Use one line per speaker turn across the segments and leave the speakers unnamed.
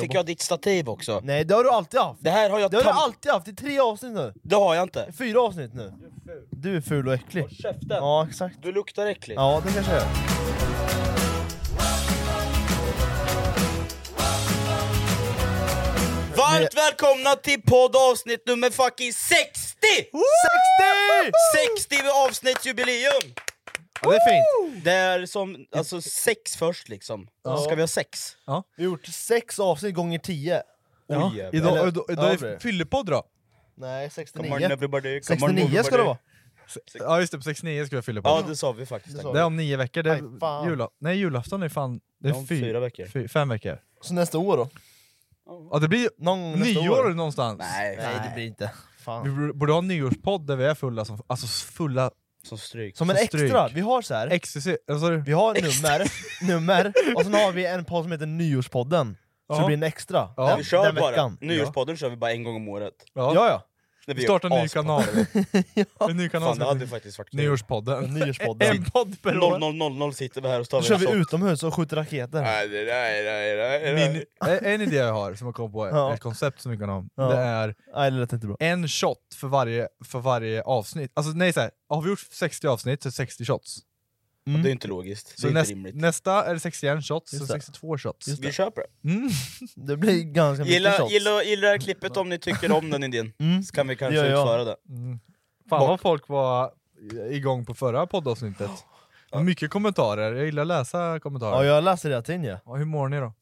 Fick jag ditt stativ också?
Nej det har du alltid haft!
Det här har jag
Det har du
tam-
alltid haft, det är tre avsnitt nu!
Det har jag inte.
Fyra avsnitt nu! Du är ful och äcklig.
Käften!
Ja exakt.
Du luktar äckligt.
Ja det kanske jag är.
Varmt välkomna till poddavsnitt nummer fucking 60! 60
60!
avsnittsjubileum!
Ja, det är fint.
Det är som, alltså sex först liksom. Ska vi ha sex?
Vi har gjort sex avsnitt gånger tio.
Ja.
Idag,
Eller-
idag,
ja,
idag är
det är det.
det fyllepodd då?
Nej
Come on
69.
everybody, come on
69 ska det vara.
Ja just det, på 69 ska vi ha fyllepodd.
Ja det sa vi faktiskt.
sa
det är om nio veckor. Det
Aj, fan.
är jula, nej julafton är fan... Det är
Om
fy-
fyra veckor.
fy- fem veckor.
Så nästa år då?
Ja det blir
Någon gång nästa
nyår
år.
någonstans.
Nej,
Nej det blir inte. Fan.
Vi borde ha en nyårspodd där vi är fulla som... Alltså fulla...
som stryk.
Som en
Så
extra,
stryk.
vi har så här.
Ecstasy... Alltså,
Vi har nummer, nummer, och sen har vi en podd som heter Nyårspodden. Så
Ja.
det blir en extra.
Ja.
Den,
Vi kör
den
bara.
veckan.
Nyårspodden kör vi bara en gång om året.
ja.
Ja ja.
När
Vi startar en ny
aspodd.
kanal. En ny kanal
Fan det
som
hade
heter
faktiskt varit kul.
Nyårspodden.
Nyårspodden.
En podd per år.
00.00 sitter vi här och stavar
Då kör
en
vi
sock.
utomhus och skjuter raketer.
Nej, nej, nej, nej, nej, nej.
Min, eh, en idé jag har som jag kom på,
Ja.
ett koncept som vi kan ha,
Ja.
det är
Nej det lät inte bra.
en shot för varje, för varje avsnitt. Alltså nej såhär, har vi gjort 60 avsnitt så 60 shots. Mm.
Det är inte logiskt.
Så
det är
näst,
inte rimligt.
nästa är det 61 shots,
Just
så
det.
62 shots.
vi köper det.
Det blir ganska mycket
Gilla,
shots.
gilla, gilla det här klippet om ni tycker om den idén,
Mm.
så kan vi kanske
Ja, ja.
utföra det.
Fan vad folk var igång på förra poddavsnittet. Mycket kommentarer, jag gillar att läsa kommentarer.
Ja jag läser hela tiden ja.
Ja, Hur mår ni då?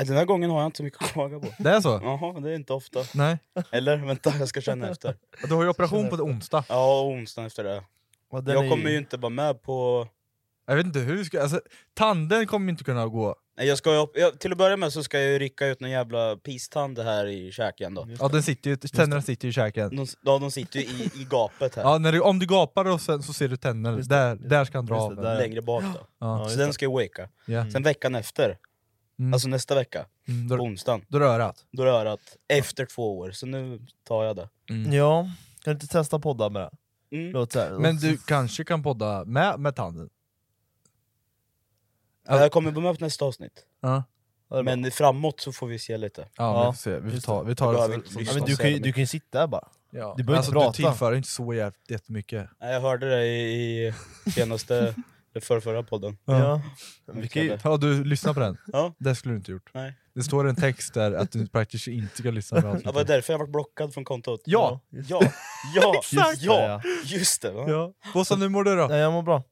Äh, Den här gången har jag inte så mycket att klaga på.
Det är så?
Jaha, det är inte ofta.
Nej?
Eller vänta, jag ska känna efter.
Du har ju operation på onsdag.
Ja, onsdagen efter det.
Och den är
jag kommer ju inte vara med på...
Jag vet inte hur vi ska... Alltså, tanden kommer inte kunna gå.
Nej, jag ska, ju- jag, till att börja med så ska jag ju rycka ut någon jävla pistand här i käken då.
Ja, den sitter ju, tänderna sitter ju i käken.
De, ja, de sitter ju i, i gapet här,
Ja, när du, om du gapar och sen, så ser du tänderna, där, där ska han dra
Just
av
det,
den.
där.
längre bak då.
Ja.
Så den ska jag waka.
Ja.
Sen veckan efter,
Mm.
alltså nästa vecka,
Mm,
på
då,
onsdagen,
då är det örat.
Då är det örat. Efter två år, så nu tar jag det.
Ja, kan du inte testa podda med det?
Mm.
Låt så här.
Men du kanske kan podda med, med tanden?
Ja, Jag kommer vara med på nästa avsnitt.
Ja.
Ja, det är bra.
Men framåt så får vi se lite.
Ja,
Ja,
vi får se. Vi, får
just
ta,
det.
vi tar
Då har
det
vi
som-
liksom-
som-
ja, men du, kan ju, du kan ju sitta här bara.
Ja.
Du behöver
alltså,
inte
Du
prata.
tillför inte så jäv- jättemycket.
Nej, Jag hörde det i i senaste, eller förra, förra podden.
Ja. Vi kan ju,
Ja, du lyssnar på den?
Ja.
Det skulle du inte gjort.
Nej.
Det står en text där att du praktiskt inte ska lyssna på
Det var
avsnittet.
därför jag varit blockad från kontot.
Ja.
ja, ja,
Exakt.
ja, just det. Va?
Ja. Bossa, nu mår du då?
nej, jag mår bra.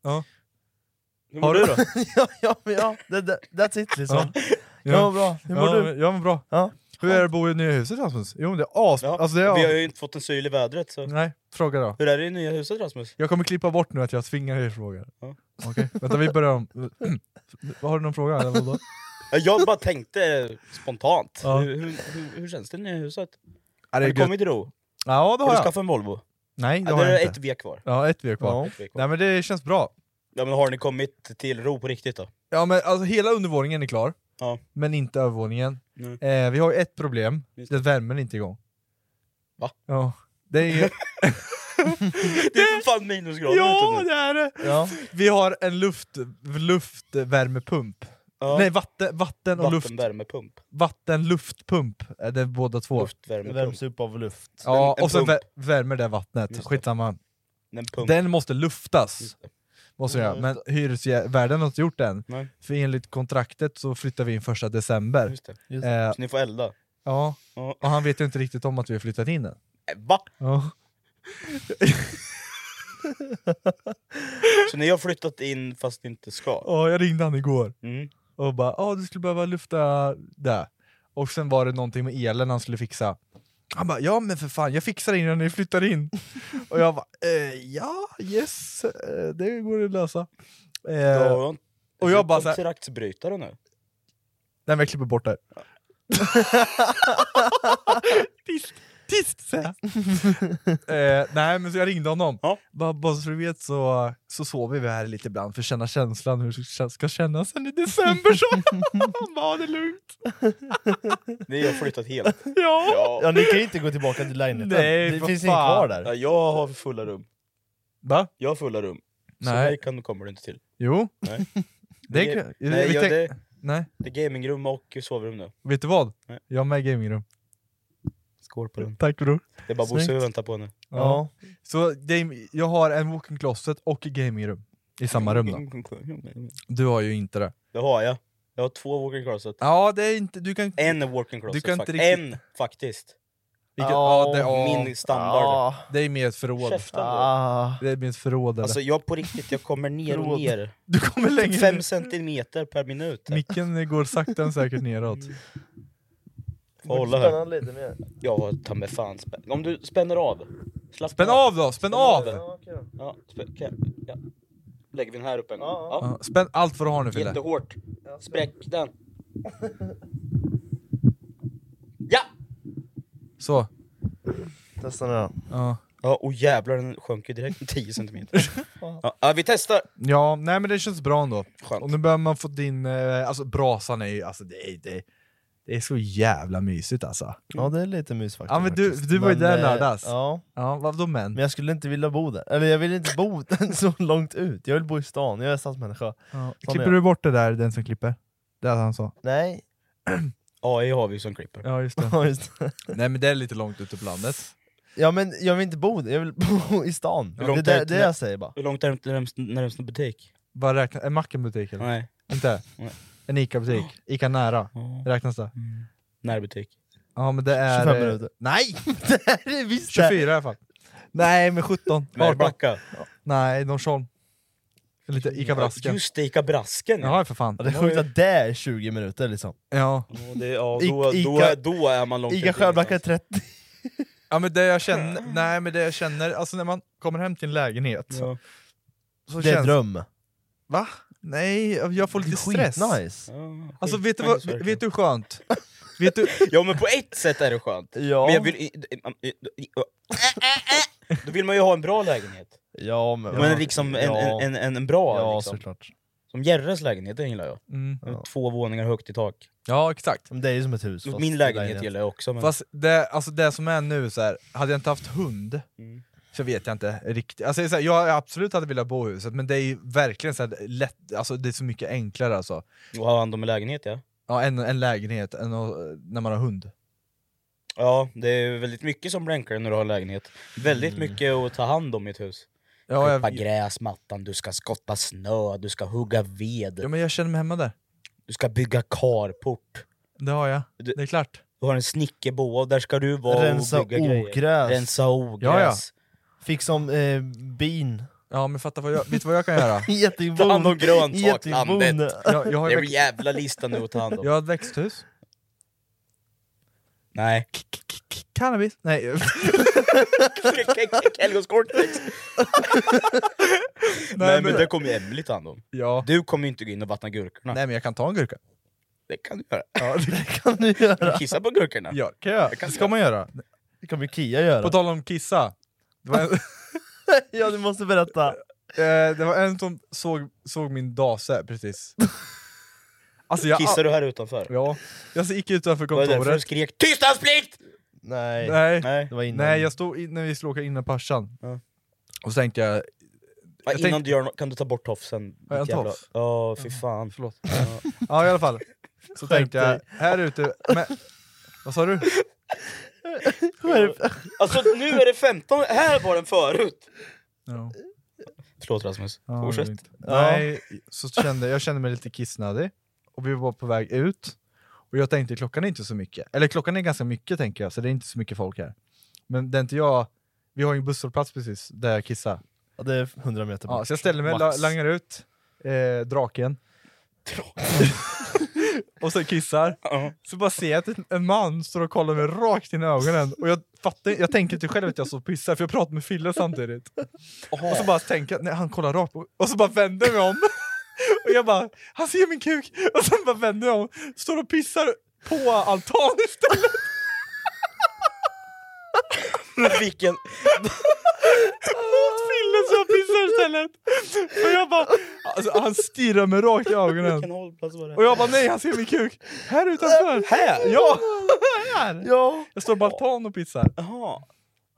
Hur mår
Har du då?
ja, ja, men ja, det, det, that's it liksom.
Ja.
Jag mår bra, hur mår
ja,
du?
men- Jag mår bra.
Ja.
Hur är det att bo i nya huset Rasmus? Jo men det är as...
Ja.
Alltså, det är...
Vi har ju inte fått en syl i vädret så...
Nej, fråga då.
Hur är det i nya huset Rasmus?
Jag kommer klippa bort nu att jag tvingar er frågor.
Ja.
Okej, vänta vi börjar om. har du någon fråga? Eller vadå?
Ja, Jag bara tänkte spontant.
Ja.
Hur, hur, hur, hur känns det i nya huset?
Ja, det
Har
är
du
gött.
kommit till ro?
Ja det har
Har du
jag.
skaffat en Volvo?
Nej det
Ja,
har
det
jag
är
inte.
ett V kvar.
Ja, ett vi har kvar.
Ett V kvar.
Nej men det känns bra.
Ja, men har ni kommit till ro på riktigt då?
Ja men alltså hela undervåningen är klar,
Ja.
men inte övervåningen.
Nej.
Eh, vi har ju ett problem,
Just
det är att värmen är inte igång.
Va?
Ja. Det är ju...
Det är för fan minusgrader
ja
ute nu!
det är det!
Ja.
Vi har en luft, luftvärmepump.
Ja.
Nej vatten, vatten och luft,
Vattenvärmepump.
vatten, luftpump. Eh, Det är båda två.
Det
Luftvärmepump.
värms upp av luft.
Ja,
En- en
och sen
pump.
vä- värmer det vattnet. Skitsamma.
En pump.
Den måste luftas.
Just det. Mm.
Måste jag. Men hyresvärden har inte gjort den.
Nej.
För enligt kontraktet så flyttar vi in första december.
Just det.
Eh,
Så ni får elda.
ja.
Ja.
Och han vet ju inte riktigt om att vi har flyttat in den.
Äh, Va?
Ja.
Så ni har flyttat in fast ni inte ska?
Ja, jag ringde han igår
Mm.
och bara ah, du skulle behöva lufta det. Och sen var det någonting med elen han skulle fixa. Han bara ja men för fan jag fixar det innan ni flyttar in. och jag bara eh, ja yes eh, det går att lösa. Eh,
Ja,
och jag bara så här-
Kontraktsbrytare nu.
Nej men jag klipper bort det här. Tyst! Tyst säger jag. eh, Nej men så jag ringde honom.
Ja.
Bara, bara så du vet så, så sover vi här lite ibland för att känna känslan hur det ska- ska kännas sen i december. Så. Han bara, "Ja, det är lugnt.
Ni har flyttat helt.
Ja.
Ja, ni kan ju inte gå tillbaka till lägenheten.
Nej,
det
vad
finns inget
fan.
kvar
Ja,
där.
jag har fulla rum.
Va?
Jag har fulla rum. Så
Nej.
mig kan, kommer du inte till.
Jo.
Nej.
Det är,
Det-
kul.
Nej,
vi
ja,
tänk-
det,
nej.
det är gamingrum och sovrum nu.
Vet du vad?
Nej.
Jag har med i gamingrum.
Skål på den.
Tack bror.
Det är bara Bosse vi
Snyggt.
väntar på nu.
Ja. Så game, jag har en walk-in closet och ett gamingrum. I samma rum då. Du har ju inte det.
Det har jag. Jag har två walk-in closet.
Ja, det är inte, du kan...
En walk-in closet.
kan inte
fakt-
riktigt-
En faktiskt.
Vilket, ja, det, ja.
Min standard.
Det är mer ett förråd.
Käften då.
Ah.
Det är mer ett förråd. eller?
Alltså jag på riktigt, jag kommer ner och
Förlåt.
ner.
du kommer längre
Fem
ner.
centimeter per minut.
Typ. Micken går sakta men säkert neråt.
Mm. Får hålla här.
Spänna lite mer.
Ja, ta mig fan spänn. Om du spänner av. Slappna
Spänn av då! Spänn av!
Ja, okej då.
Ja, spänn, kan, ja. Lägger vi den här uppe?
Ja,
Ja, Spänn allt vad du har nu Fille.
Jättehårt. Spräck den. Ja!
Så.
Testa nu då.
Ja.
Ja, och jävlar den sjönk ju direkt 10 centimeter. ja, ja, vi testar.
ja, nej men det känns bra ändå.
Skönt.
Och nu börjar man få din... eh, Alltså brasan är ju... Alltså, det, är, det, är- det är så jävla mysigt alltså.
Ja, det är lite mys faktiskt.
Ja, men du-
faktiskt.
du var ju där
eh,
lördags.
Ja,
Ja, vadå men?
men jag skulle inte vilja bo där. Eller jag vill inte bo så långt ut. Jag vill bo i stan, jag är stadsmänniska.
Ja.
Som
Klipper
jag.
du bort det där, den som klipper? Det är han sa.
Nej,
AI har vi som klipper.
Ja, just det.
ja, just.
nej men det är lite långt ute på landet.
ja men jag vill inte bo där, jag vill bo i stan.
Hur
Det är
långt
det,
är
det
det?
jag säger bara.
Hur långt är det till närmsta, närmsta butik?
Vad räknar... Är macken butik eller?
Nej,
Inte?
Nej.
En ICA-butik? ICA nära? Räknas det?
närbutik.
Ja men det är...
25
eh,
minuter.
Nej!
det här är visst det.
24 i alla fall. Nej men 17, 18.
Märgbacka.
Nej, Norsholm. Lite ICA Brasken.
Just det, Ica Brasken! Ja.
Ja för fan.
Ja, det är sjukt att det är 20 minuter liksom.
Ja.
Ja, det, ja, då,
Ica-
då, är- då är man långt
Ica
ute
Sjöbacka är
någonstans.
30.
ja men det jag känner, nej men det jag känner, alltså när man kommer hem till en lägenhet
Ja.
så
Det är
känns...
dröm.
Va? Nej, jag får lite stress.
Skitnice.
Ja,
Alltså
skit-
vet du,
Nej,
vad,
så är det
vet du hur skönt? vet du,
Ja men på ett sätt är det skönt.
Ja.
Men jag vill... Då vill man ju ha en bra lägenhet.
Ja men...
Men liksom en, en, en, en, en bra,
Ja
liksom.
såklart.
som Jerres lägenhet, den gillar jag.
mm.
Två våningar högt i tak.
Ja exakt.
Men Det är ju som ett hus. fast
Min lägenhet, gillar jag också. Men...
Fast det, alltså det som är nu, så här, hade jag inte haft hund
Mm.
så vet jag inte riktigt. Alltså, det är så här, jag absolut hade velat bo i huset, men det är ju verkligen så här, lätt, alltså, det är så mycket enklare alltså.
Och ha hand om en lägenhet ja.
Ja, en, en lägenhet än att, när man har hund.
Ja, det är väldigt mycket som blir enklare när du har en lägenhet. Väldigt
Mm.
mycket att ta hand om i ett hus.
Ja,
Klippa
jag,
gräsmattan, du ska skotta snö, du ska hugga ved,
ja, men jag känner mig hemma där.
du ska bygga carport.
Det har jag.
Du-
Det är klart.
Du har en snickerboa och där ska du vara
Rensa
och bygga grejer.
ogräs.
Rensa ogräs.
Fick som eh, bin.
Ja, men fatta vad jag, vet du vad jag kan göra?
Getingbon.
Ta hand om grönsaklandet.
Getingbon.
Jag, jag, har
Det är
ju
en
växt,
jävla lista nu att ta hand om.
jag har ett växthus.
Nej.
K- k- k- Cannabis? Nej.
Helgonskortet! Nej men det kommer ju Emelie ta hand om.
ja.
Du kommer ju inte gå in och vattna gurkorna.
Nej men jag kan ta en gurka.
Det kan du göra.
Ja, det
kan du göra?
Kissa på gurkorna.
ja, kan jag.
Det kan
Det ska man göra.
Det kommer Kia göra.
På tal om kissa. Det var en,
ja, du måste berätta.
eh, det var en som såg, såg min dase precis. Alltså jag,
Kissar du här utanför?
Ja. Jag gick utanför
Var det därför du
kontoret.
skrek TYSTNADSPLIKT?!
Nej.
Nej.
Nej.
Det var innan.
Nej, jag stod in, när vi skulle åka in med farsan,
Ja.
och så tänkte jag,
Ja,
Jag
Innan du
tänkte-
gör något, kan du ta bort tofsen?
Har jag en
ditt jävla-
tofs?
Ja, fy fan.
förlåt.
Ja.
Ja i alla fall. Så tänkte jag, här ute, men, vad sa du?
Skärp-
Alltså nu är det 15, här var den förut!
Ja.
Förlåt Rasmus,
Ja,
fortsätt.
det är inte- Nej, så kände, jag kände mig lite kissnödig, och vi var på väg ut, och jag tänkte klockan är inte så mycket, eller klockan är ganska mycket tänker jag, så det är inte så mycket folk här. Men det är inte jag, vi har ju en busshållplats precis, där jag kissar.
Ja, det är 100 meter bort.
Ja, så jag ställer mig, la,
Max.
langar ut eh, draken, och så kissar.
Ja.
Så bara ser jag att en- en man står och kollar mig rakt in i ögonen och jag fattar jag tänker inte själv att jag står och pissar för jag pratar med Fille samtidigt. Och så bara tänker jag, nej han kollar rakt på och så bara vänder jag mig om. Och jag bara, han ser min kuk! Och sen bara vänder jag om, står och pissar på altanen istället.
Vilken...
Mot Fille så jag pissar istället. Och jag bara, alltså, han stirrar mig rakt i
Vilken
ögonen.
hållplats var det?
Och jag bara, nej han ser min kuk! Här utanför!
Här?
Ja! Här!
Ja.
Jag står på altan och pissar.
Jaha.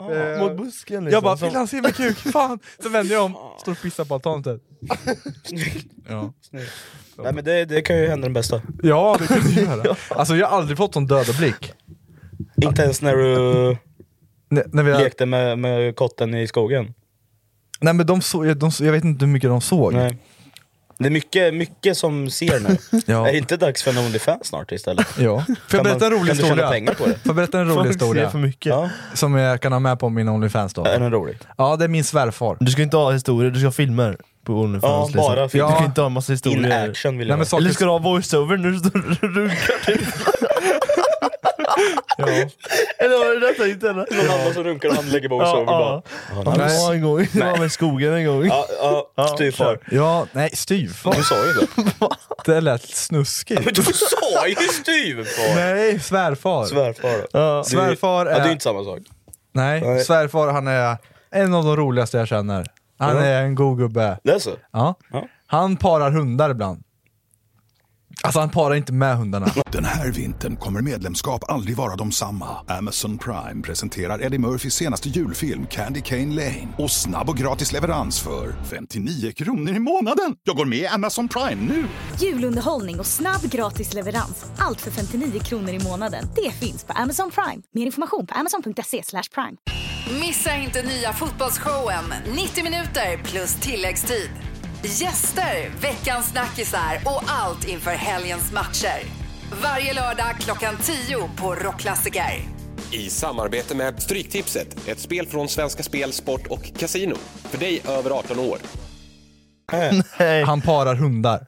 Eh,
Mot busken liksom.
Jag bara
som-
“Vill han se min kuk? Fan!” Så vänder jag om, står och pissar på altanen typ. ja.
Nej men det, det kan ju hända den bästa.
ja, det kan du göra. Alltså jag har aldrig fått sån döda blick.
Inte ens när du
Nej, när vi har,
lekte med, med kotten i skogen.
nej men de såg, de, såg- jag vet inte hur mycket de såg.
Nej. Det är mycket, mycket som ser nu.
Ja.
Är det inte dags för en Onlyfans snart istället?
Ja. Får jag
Kan man-
berätta en rolig
kan du tjäna
historia?
pengar på det?
Får jag berätta en rolig
Folk ser
historia?
för mycket.
Ja,
Som jag kan ha med på min Onlyfans då?
är den rolig?
Ja, det är min svärfar.
Du ska inte ha historier, du ska ha filmer på Onlyfans. liksom.
Ja, bara filmer.
Du ska
Ja.
inte ha en massa
In
historier.
action vill
Nej,
jag
men
ha.
saker-
Eller ska du ha voiceover när du står och runkar? typ?
Ja.
Eller var det detta inte? Eller?
Någon annan som runkar och han lägger på och sover bara.
Ja, ja. Han var en gång, han var med skogen en gång.
Ja, ja, styvfar.
ja, nej styvfar.
Du sa ju det.
Det lät snuskigt.
Men du sa ju styvfar!
Nej, svärfar.
Svärfar.
Ja.
Du-
Svärfar
Ja, det är
är-
ju inte samma sak.
Nej,
Nej.
svärfar han är en av de roligaste jag känner. Han
Ja.
är en god gubbe.
Det är så?
Ja.
Ja.
Han parar hundar ibland. Alltså han parar inte med hundarna.
Den här vintern kommer medlemskap aldrig vara de samma. Amazon Prime presenterar Eddie Murphys senaste julfilm Candy Cane Lane. Och snabb och gratis leverans för 59 kronor i månaden. Jag går med i Amazon Prime nu!
Julunderhållning och snabb gratis leverans. Allt för 59 kronor i månaden. Det finns på Amazon Prime. Mer information på amazon.se slash prime.
Missa inte nya fotbollsshowen 90 minuter plus tilläggstid. Gäster, veckans snackisar och allt inför helgens matcher. Varje lördag klockan 10 på Rockklassiker.
I samarbete med Stryktipset, ett spel från Svenska Spel, Sport och Casino. För dig över 18 år.
Nej,
Han parar hundar.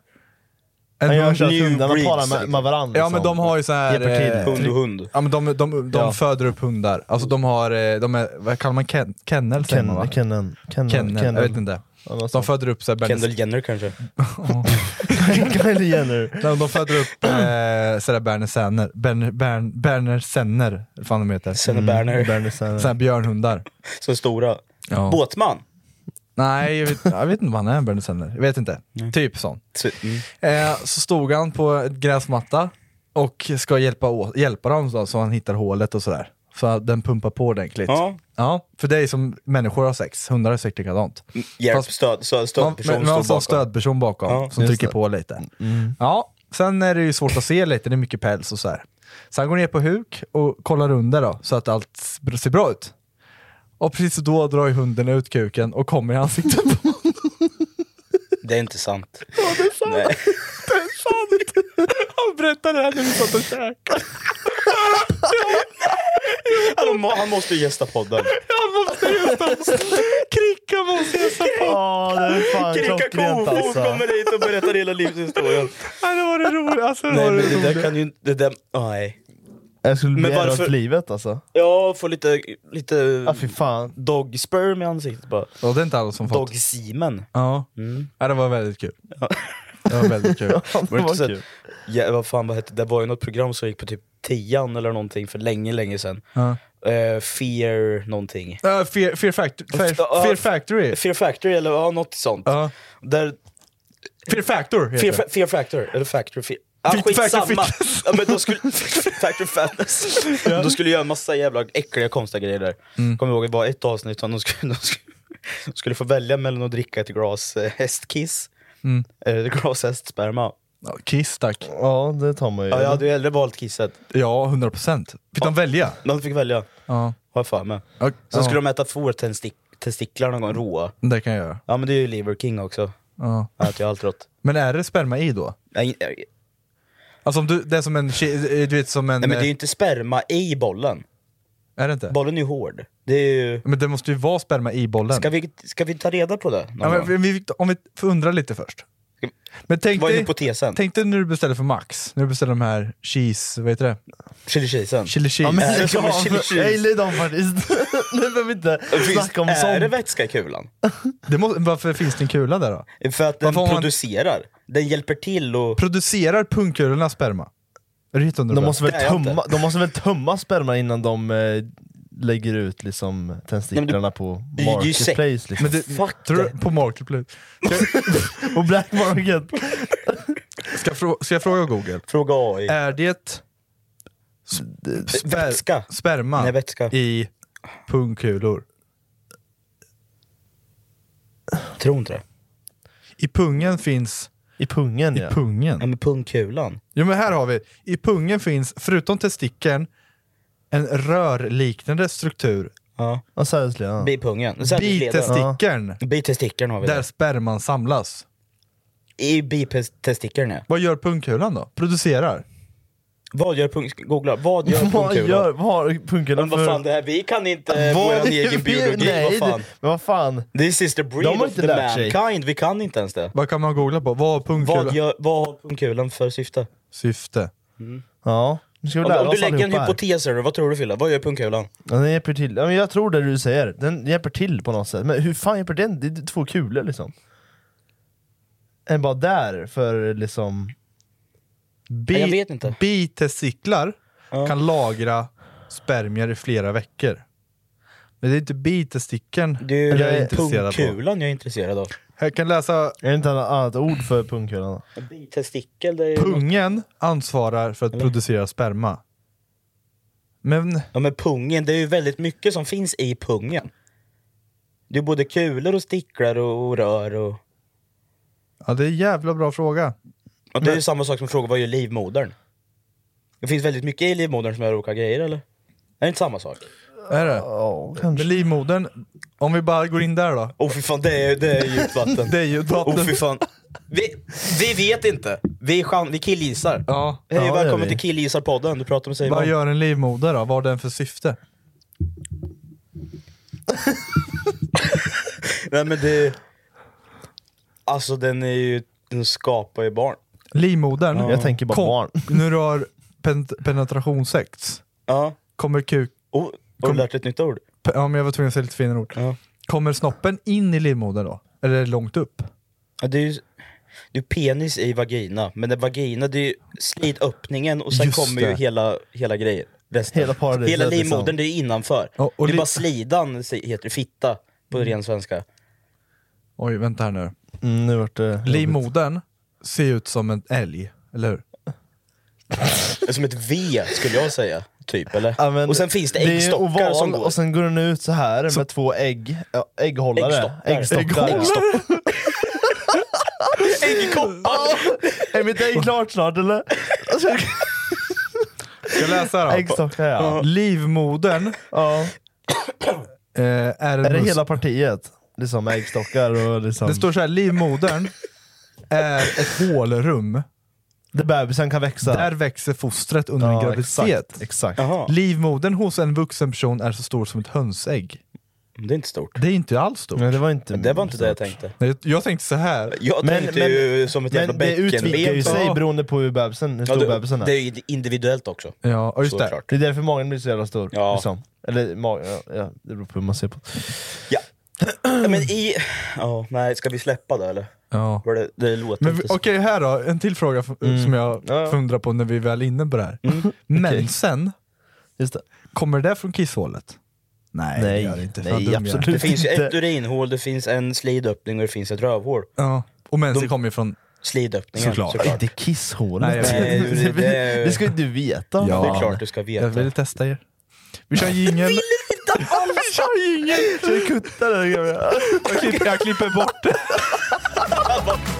En
han gör
hund-
så att
New
hundarna
breeds,
parar med, med varandra.
ja men de har ju så här...
Hjälper till.
eh,
Hund och hund.
Ja men de, de, de,
Ja.
föder upp hundar. Alltså de har, eh, de är, vad kallar man ken, kennel? säger man, va?
Ken, Kennen. Kennen.
Kennel, jag vet inte.
Ja, något
De
sånt.
föder upp så här Bernie,
Kendall Jenner kanske?
Kylie Jenner.
Nej, de föder upp eh, sådär Berner Senner, Berner, Berner, Berner Senner, vad fan de heter.
Mm,
Sen Berner.
Bernie Sanders.
Sådana här björnhundar.
Så stora.
Ja.
Båtman.
Nej, jag vet, jag vet inte vad han är, Berner Senner. Jag vet inte. Typ sån.
Så- mm.
Eh, så stod han på ett gräsmatta och ska hjälpa, å- hjälpa dem så, så han hittar hålet och sådär. Så att den pumpar på ordentligt.
Ja.
Ja, för dig som människor har sex, hundar har säkert likadant.
Mm, Hjälp,
Fast-
stöd, stöd,
Man,
stödperson
men man har en
står
sån
bakom.
stödperson bakom
Ja, Mm,
som
just
trycker
det.
på lite. Ja, sen är det ju svårt att se lite, det är mycket päls och så här. Så han går ner på huk och kollar under då, så att allt ser bra ut. Och precis då drar ju hunden ut kuken och kommer i ansiktet på honom.
Det är inte sant. Ja, det är sant. Nej.
Han berättar det här när vi satt och käkade.
Han, må, han måste ju gästa podden.
Han måste gästa Kricka måste gästa på.
Ja, det är fan
Kricka
klockrent
Kofot
alltså.
kommer hit och berättar hela livshistorien.
Nej, Det var det roligaste. det
Nej
var
men
det
det där
roligaste.
kan ju inte... Det där, nej.
Jag skulle bli
Men
ärrad
varför-
för livet alltså.
Ja, få lite, lite
Ja fy fan.
dog sperm i ansiktet bara.
Ja, det är inte alla som fått.
Dog semen.
Ja.
Mm.
ja, det var väldigt kul. Det var väldigt kul.
det
Var det
var
inte så
kul.
att, ja, vad fan vad hette det? Det var ju något program som gick på typ tian eller någonting för länge, länge sedan.
Ja.
Eh, fear någonting.
Uh, fear, fear, fact- fear,
Ja.
fear Factory.
Fear Factory eller ja, något sånt.
Ja.
Där,
Fear Factor heter
fear,
det.
fa- fear Factor, eller Factory Fear. Ah,
Fit- Factor
skitsamma!
Fitness.
Ja, men då skulle, factor Fatness. Då skulle jag göra en massa jävla äckliga konstiga grejer där.
Mm.
Kommer ihåg, det var ett avsnitt som de skulle, de skulle, de skulle få välja mellan att dricka ett glas eh, hästkiss,
Mm.
eller ett glas hästsperma.
Ja, Kiss tack.
Ja det tar man ju.
Ja, jag hade ju hellre valt kisset.
Ja, 100 procent. Fick de välja?
De fick välja,
Ja.
har jag för mig.
Ja,
Sen skulle
ja,
de äta fårtestiklar någon gång, råa.
Det kan jag göra.
Ja men det är ju Liver King också,
Ja.
han äter ju allt rått.
Men är det sperma i då?
Nej, eh, nej,
Alltså om du, det är som en, ki- du vet som en... eh,
nej men det är ju inte sperma i bollen,
är det inte?
bollen är ju hård. Det är ju...
Men det måste ju vara sperma i bollen.
Ska vi, ska vi ta reda på det? någon
ja, men,
gång?
vi, vi- om vi undrar lite först.
Ska-
Men tänk
Vad är
dig,
hypotesen?
tänk dig när du beställer för Max, när du beställer de här cheese, vad heter det?
Chili cheesen?
Chili cheese.
Ja, men,
Äh,
jag,
kommer chili cheese.
jag gillar ju dem faktiskt. nu behöver vi inte
Finns-
snacka om
Är det
sånt.
vätska i kulan?
det må, varför finns det en kula där då?
För att den
Varför har man-
producerar, den hjälper till och...
Producerar pungkulorna sperma? Är det helt
De
underbart?
måste,
Det
väl
är jag
tömma, de måste väl tömma sperma innan de eh, lägger ut liksom
Nej,
testiklarna på
det är ju
marketplace liksom.
Men det,
Fuck
tror du,
det.
på Marketplace.
och black market.
Ska, jag frå- ska jag fråga Google?
Fråga AI.
Är det s- sper-
vätska.
sperma
Nej, vätska.
i pungkulor?
Tror inte det.
I pungen finns...
I pungen
I
ja.
pungen?
Ja men pungkulan.
Jo men här har vi, i pungen finns, förutom testikeln, en rörliknande struktur.
Ja.
Ja, sädesledan.
Bi pungen. Sädesleden.
Bitestikeln,
Bitestikeln har vi
där
där.
sperman samlas.
I bitestikeln ja.
Vad gör pungkulan då? Producerar?
Vad gör pung... Googla. Vad gör
Vad gör
pungkulan?
vad har
Men
pungkulan
vad
för...
fan det här, vi kan inte
Vad-
vår egen biologi,
Nej,
vad fan.
det- Men vad fan.
This is the
De
breed
har
of
inte
the
lärt sig.
mankind, vi kan inte ens det.
Vad kan man googla på? Vad har
Vad,
pungkulan
gör, vad har pungkulan för syfte?
syfte?
Ja. Nu ska vi
Mm. Om,
lära
om du
oss
lägger en
allihopa här.
hypotes här, vad tror du Fille? Vad gör pungkulan?
Ja, den hjälper till. Ja, men jag tror det du säger, den hjälper till på något sätt. Men hur fan hjälper den? Det är två kulor liksom. En bara där för liksom...
Bi-
Jag vet inte.
Bitestiklar kan lagra spermier i flera veckor. Men det är inte bitestikeln
Det är
jag är
ju
intresserad av.
pungkulan jag är intresserad av.
Jag kan läsa,
Är det inte ett annat ord för pungkulan? då?
Bitestikel, det är ju...
pungen ansvarar för att producera sperma. Men
Ja men pungen, det är ju väldigt mycket som finns i pungen. Det är både kulor och sticklar och, och rör och...
Ja, det är en jävla bra fråga.
och det är ju samma sak som att fråga vad gör livmodern? Det finns väldigt mycket i livmodern som gör olika grejer eller? Är det inte samma sak?
Är det?
Ja,
Men
kanske.
livmodern, om vi bara går in där då.
Åh oh, fy fan, det är, det är djupt vatten.
Det är ju
Åh oh,
vatten.
fy fan. Vi, vi vet inte. Vi, chan- vi killgissar.
Ja.
Hej
Ja, det gör
välkommen
vi.
till Killgissar-podden, du pratar med
Vad
Simon.
gör en livmoder då? Vad har den för syfte?
Nej men det... Alltså den är ju... Den skapar ju barn.
Livmodern,
Jag tänker bara
kom-
barn.
nu rör pen- penetrationssex,
Ja.
kommer kuk...
Oh, har du
Kom-
lärt dig ett nytt ord?
pe- Ja, men jag var tvungen att säga lite finare ord.
Ja.
Kommer snoppen in i livmodern då? Eller är det långt upp?
Ja, det är ju det är penis i vagina, men det vagina det är ju slidöppningen och sen
Just
kommer ju
det.
hela, hela grejen. Resten.
Hela paradiset,
Hela livmodern,
liksom.
det är ju innanför.
Ja, och
det är
li-
bara slidan, se- heter det, fitta på ren svenska.
Oj, vänta här nu.
Mm, nu vart det...
Livmodern ser ut som en älg, eller hur?
Som ett V skulle jag säga, typ. Eller?
Ja, men
och sen finns det
är
äggstockar
oval,
som går.
och sen går den ut så här med två ägg, ja, ägghållare.
Äggstockar.
Äggstockar. ja.
Äggstockar. Äggkoppar!
Är mitt ägg klart snart eller? Alltså,
Ska jag läsa då?
äggstockar ja.
Livmodern
ja.
eh, är en
Är det
mus-
hela partiet? Liksom äggstockar och liksom...
Det står så här, livmodern är ett hålrum.
Där bebisen kan växa.
Där växer fostret under en graviditet.
Exakt. exakt.
Jaha.
Livmodern hos en vuxen person är så stor som ett hönsägg.
Det är inte stort.
Det är inte alls stort.
Nej, det var inte
Det var inte det jag tänkte.
Nej, Jag tänkte så här.
Jag
Men-
tänkte
men-
ju som ett jävla
Men det utvidgar ju
bäckenben.
sig
Ja.
beroende på hur, bebisen, hur
Ja,
stor bebisen
det,
är.
det
Det,
är ju individuellt också.
Ja, och just det.
Såklart.
är därför magen blir så jävla stor.
Ja.
Liksom. Eller magen, ja, ja, det beror på hur man ser på det.
Ja. Ja, Men i... Ja, nej, ska vi släppa det eller?
Ja.
Var det, det låter
Men vi-
inte
okej,
så.
här då. En till fråga f- som jag
Mm. Ja. Mm.
funderar på när vi är väl inne på det här. Mensen,
Just det.
kommer det från kisshålet? Nej, det
Nej,
gör det inte.
nej,
Fan, dum jag är.
absolut
Det finns ju
inte.
ett urinhål, det finns en slidöppning och det finns ett rövhål.
Ja. Och mensen
De-
kommer ju från...
Slidöppningen
Såklart.
såklart.
Inte kisshålet.
Nej, jag vet.
Nej, det- det-
det ska ju du veta.
Ja.
Det är klart du ska veta.
Jag vill testa er. Vi kör jingel. Vi kör jingel!
Du kuttar den gamla.
Jag klipper, jag klipper bort det.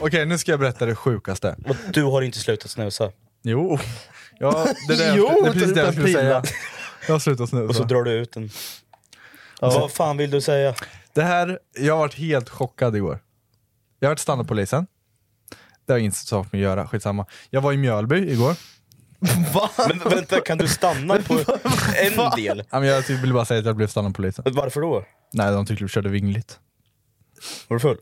Okej, nu ska jag berätta det sjukaste.
Och du har inte slutat snusa.
Jo. Ja, det, är det,
Jo,
det är precis det jag
utan
skulle säga.
pilla.
Jag har slutat snusa.
Och så drar du ut den. Vad fan vill du säga?
Det här, jag har varit helt chockad igår. Jag har varit stannad polisen. Det har inget sak med att göra, skitsamma. Jag var i Mjölby igår.
Men vänta, kan du stanna på en del?
Ja, men Jag typ ville bara säga att jag blev stannad polisen.
Varför då?
Nej, de tyckte vi körde vingligt.
Var du full?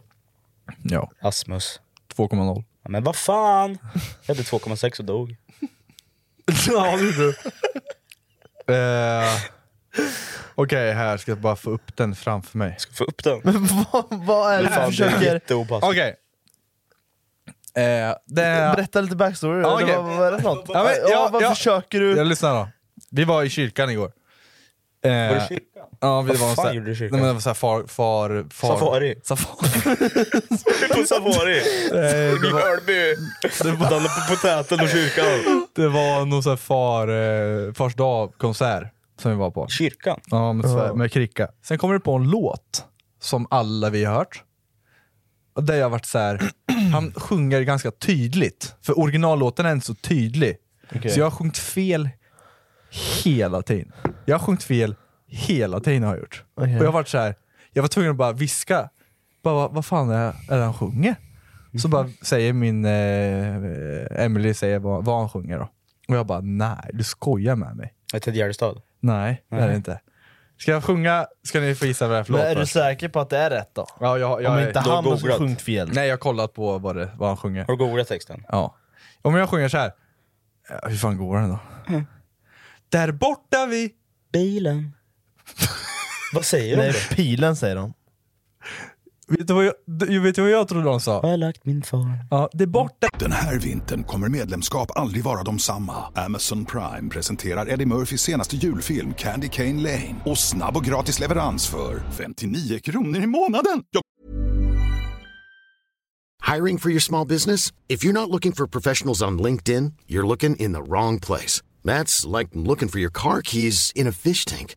Ja,
Asmus.
2,0.
Ja, Men vad fan! Jag hade 2,6 och dog.
ja, det är du. Eh, Okej, här ska jag bara få upp den framför mig.
Ska få upp den.
vad, vad är det du
Fan, det är
försöker...
jätteopassligt.
alltså. Okej. Eh, det är...
Berätta lite backstory.
Ja,
Ja,
okej.
okay. vad, vad är det för något?
Ja, men, ja,
ja, vad
ja.
försöker du?
Jag lyssnar då. Vi var i kyrkan igår. Eh,
Var det kyrkan?
Ja, vi
Vad
var en
fan
sån här-
gjorde du i kyrkan?
Nej, men det var såhär far, far, far...
Safari.
Safari.
På safari! I Mjölby! Danne på potäten och kyrkan.
det var någon sån här far, eh, fars dag-konsert som vi var på.
Kyrkan?
Ja, med, Sver- med Kricka. Sen kommer det på en låt som alla vi har hört. Och där jag har varit så här. han sjunger ganska tydligt. För originallåten är inte så tydlig. Så jag har sjungit fel hela tiden. Jag har sjungit fel hela tiden har jag gjort.
Okej.
Och jag har varit så här. jag var tvungen att bara viska. Bara, vad, vad fan är, är det han sjunger? Så bara säger min, eh, Emily säger vad, vad han sjunger då. Och jag bara, nej du skojar med mig.
Ted Gärdestad?
Nej, det är det inte. Ska jag sjunga? Ska ni få gissa vad det är för
Men
låt?
är du
först?
säker på att det är rätt då?
Ja, jag, jag,
Om inte
du har
han har
googlat.
sjungit fel.
Nej, jag har kollat på vad, det, vad han sjunger.
Har du googlat texten?
Ja. Om jag sjunger så här. Ja, hur fan går den då?
Mm.
Där borta vi...
Bilen. Vad säger de?
Nej,
då?
pilen säger de.
Vet du vad jag, du- vet du vad jag trodde de
Har
Mm.
sa?
jag lagt min far?
Ja, det är borta
Den här vintern kommer medlemskap aldrig vara de samma. Amazon Prime presenterar Eddie Murphys senaste julfilm Candy Cane Lane. Och snabb och gratis leverans för 59 kronor i månaden. Ja,
Hiring for your small business? If you're not looking for professionals on LinkedIn, you're looking in the wrong place. That's like looking for your car keys in a fish tank.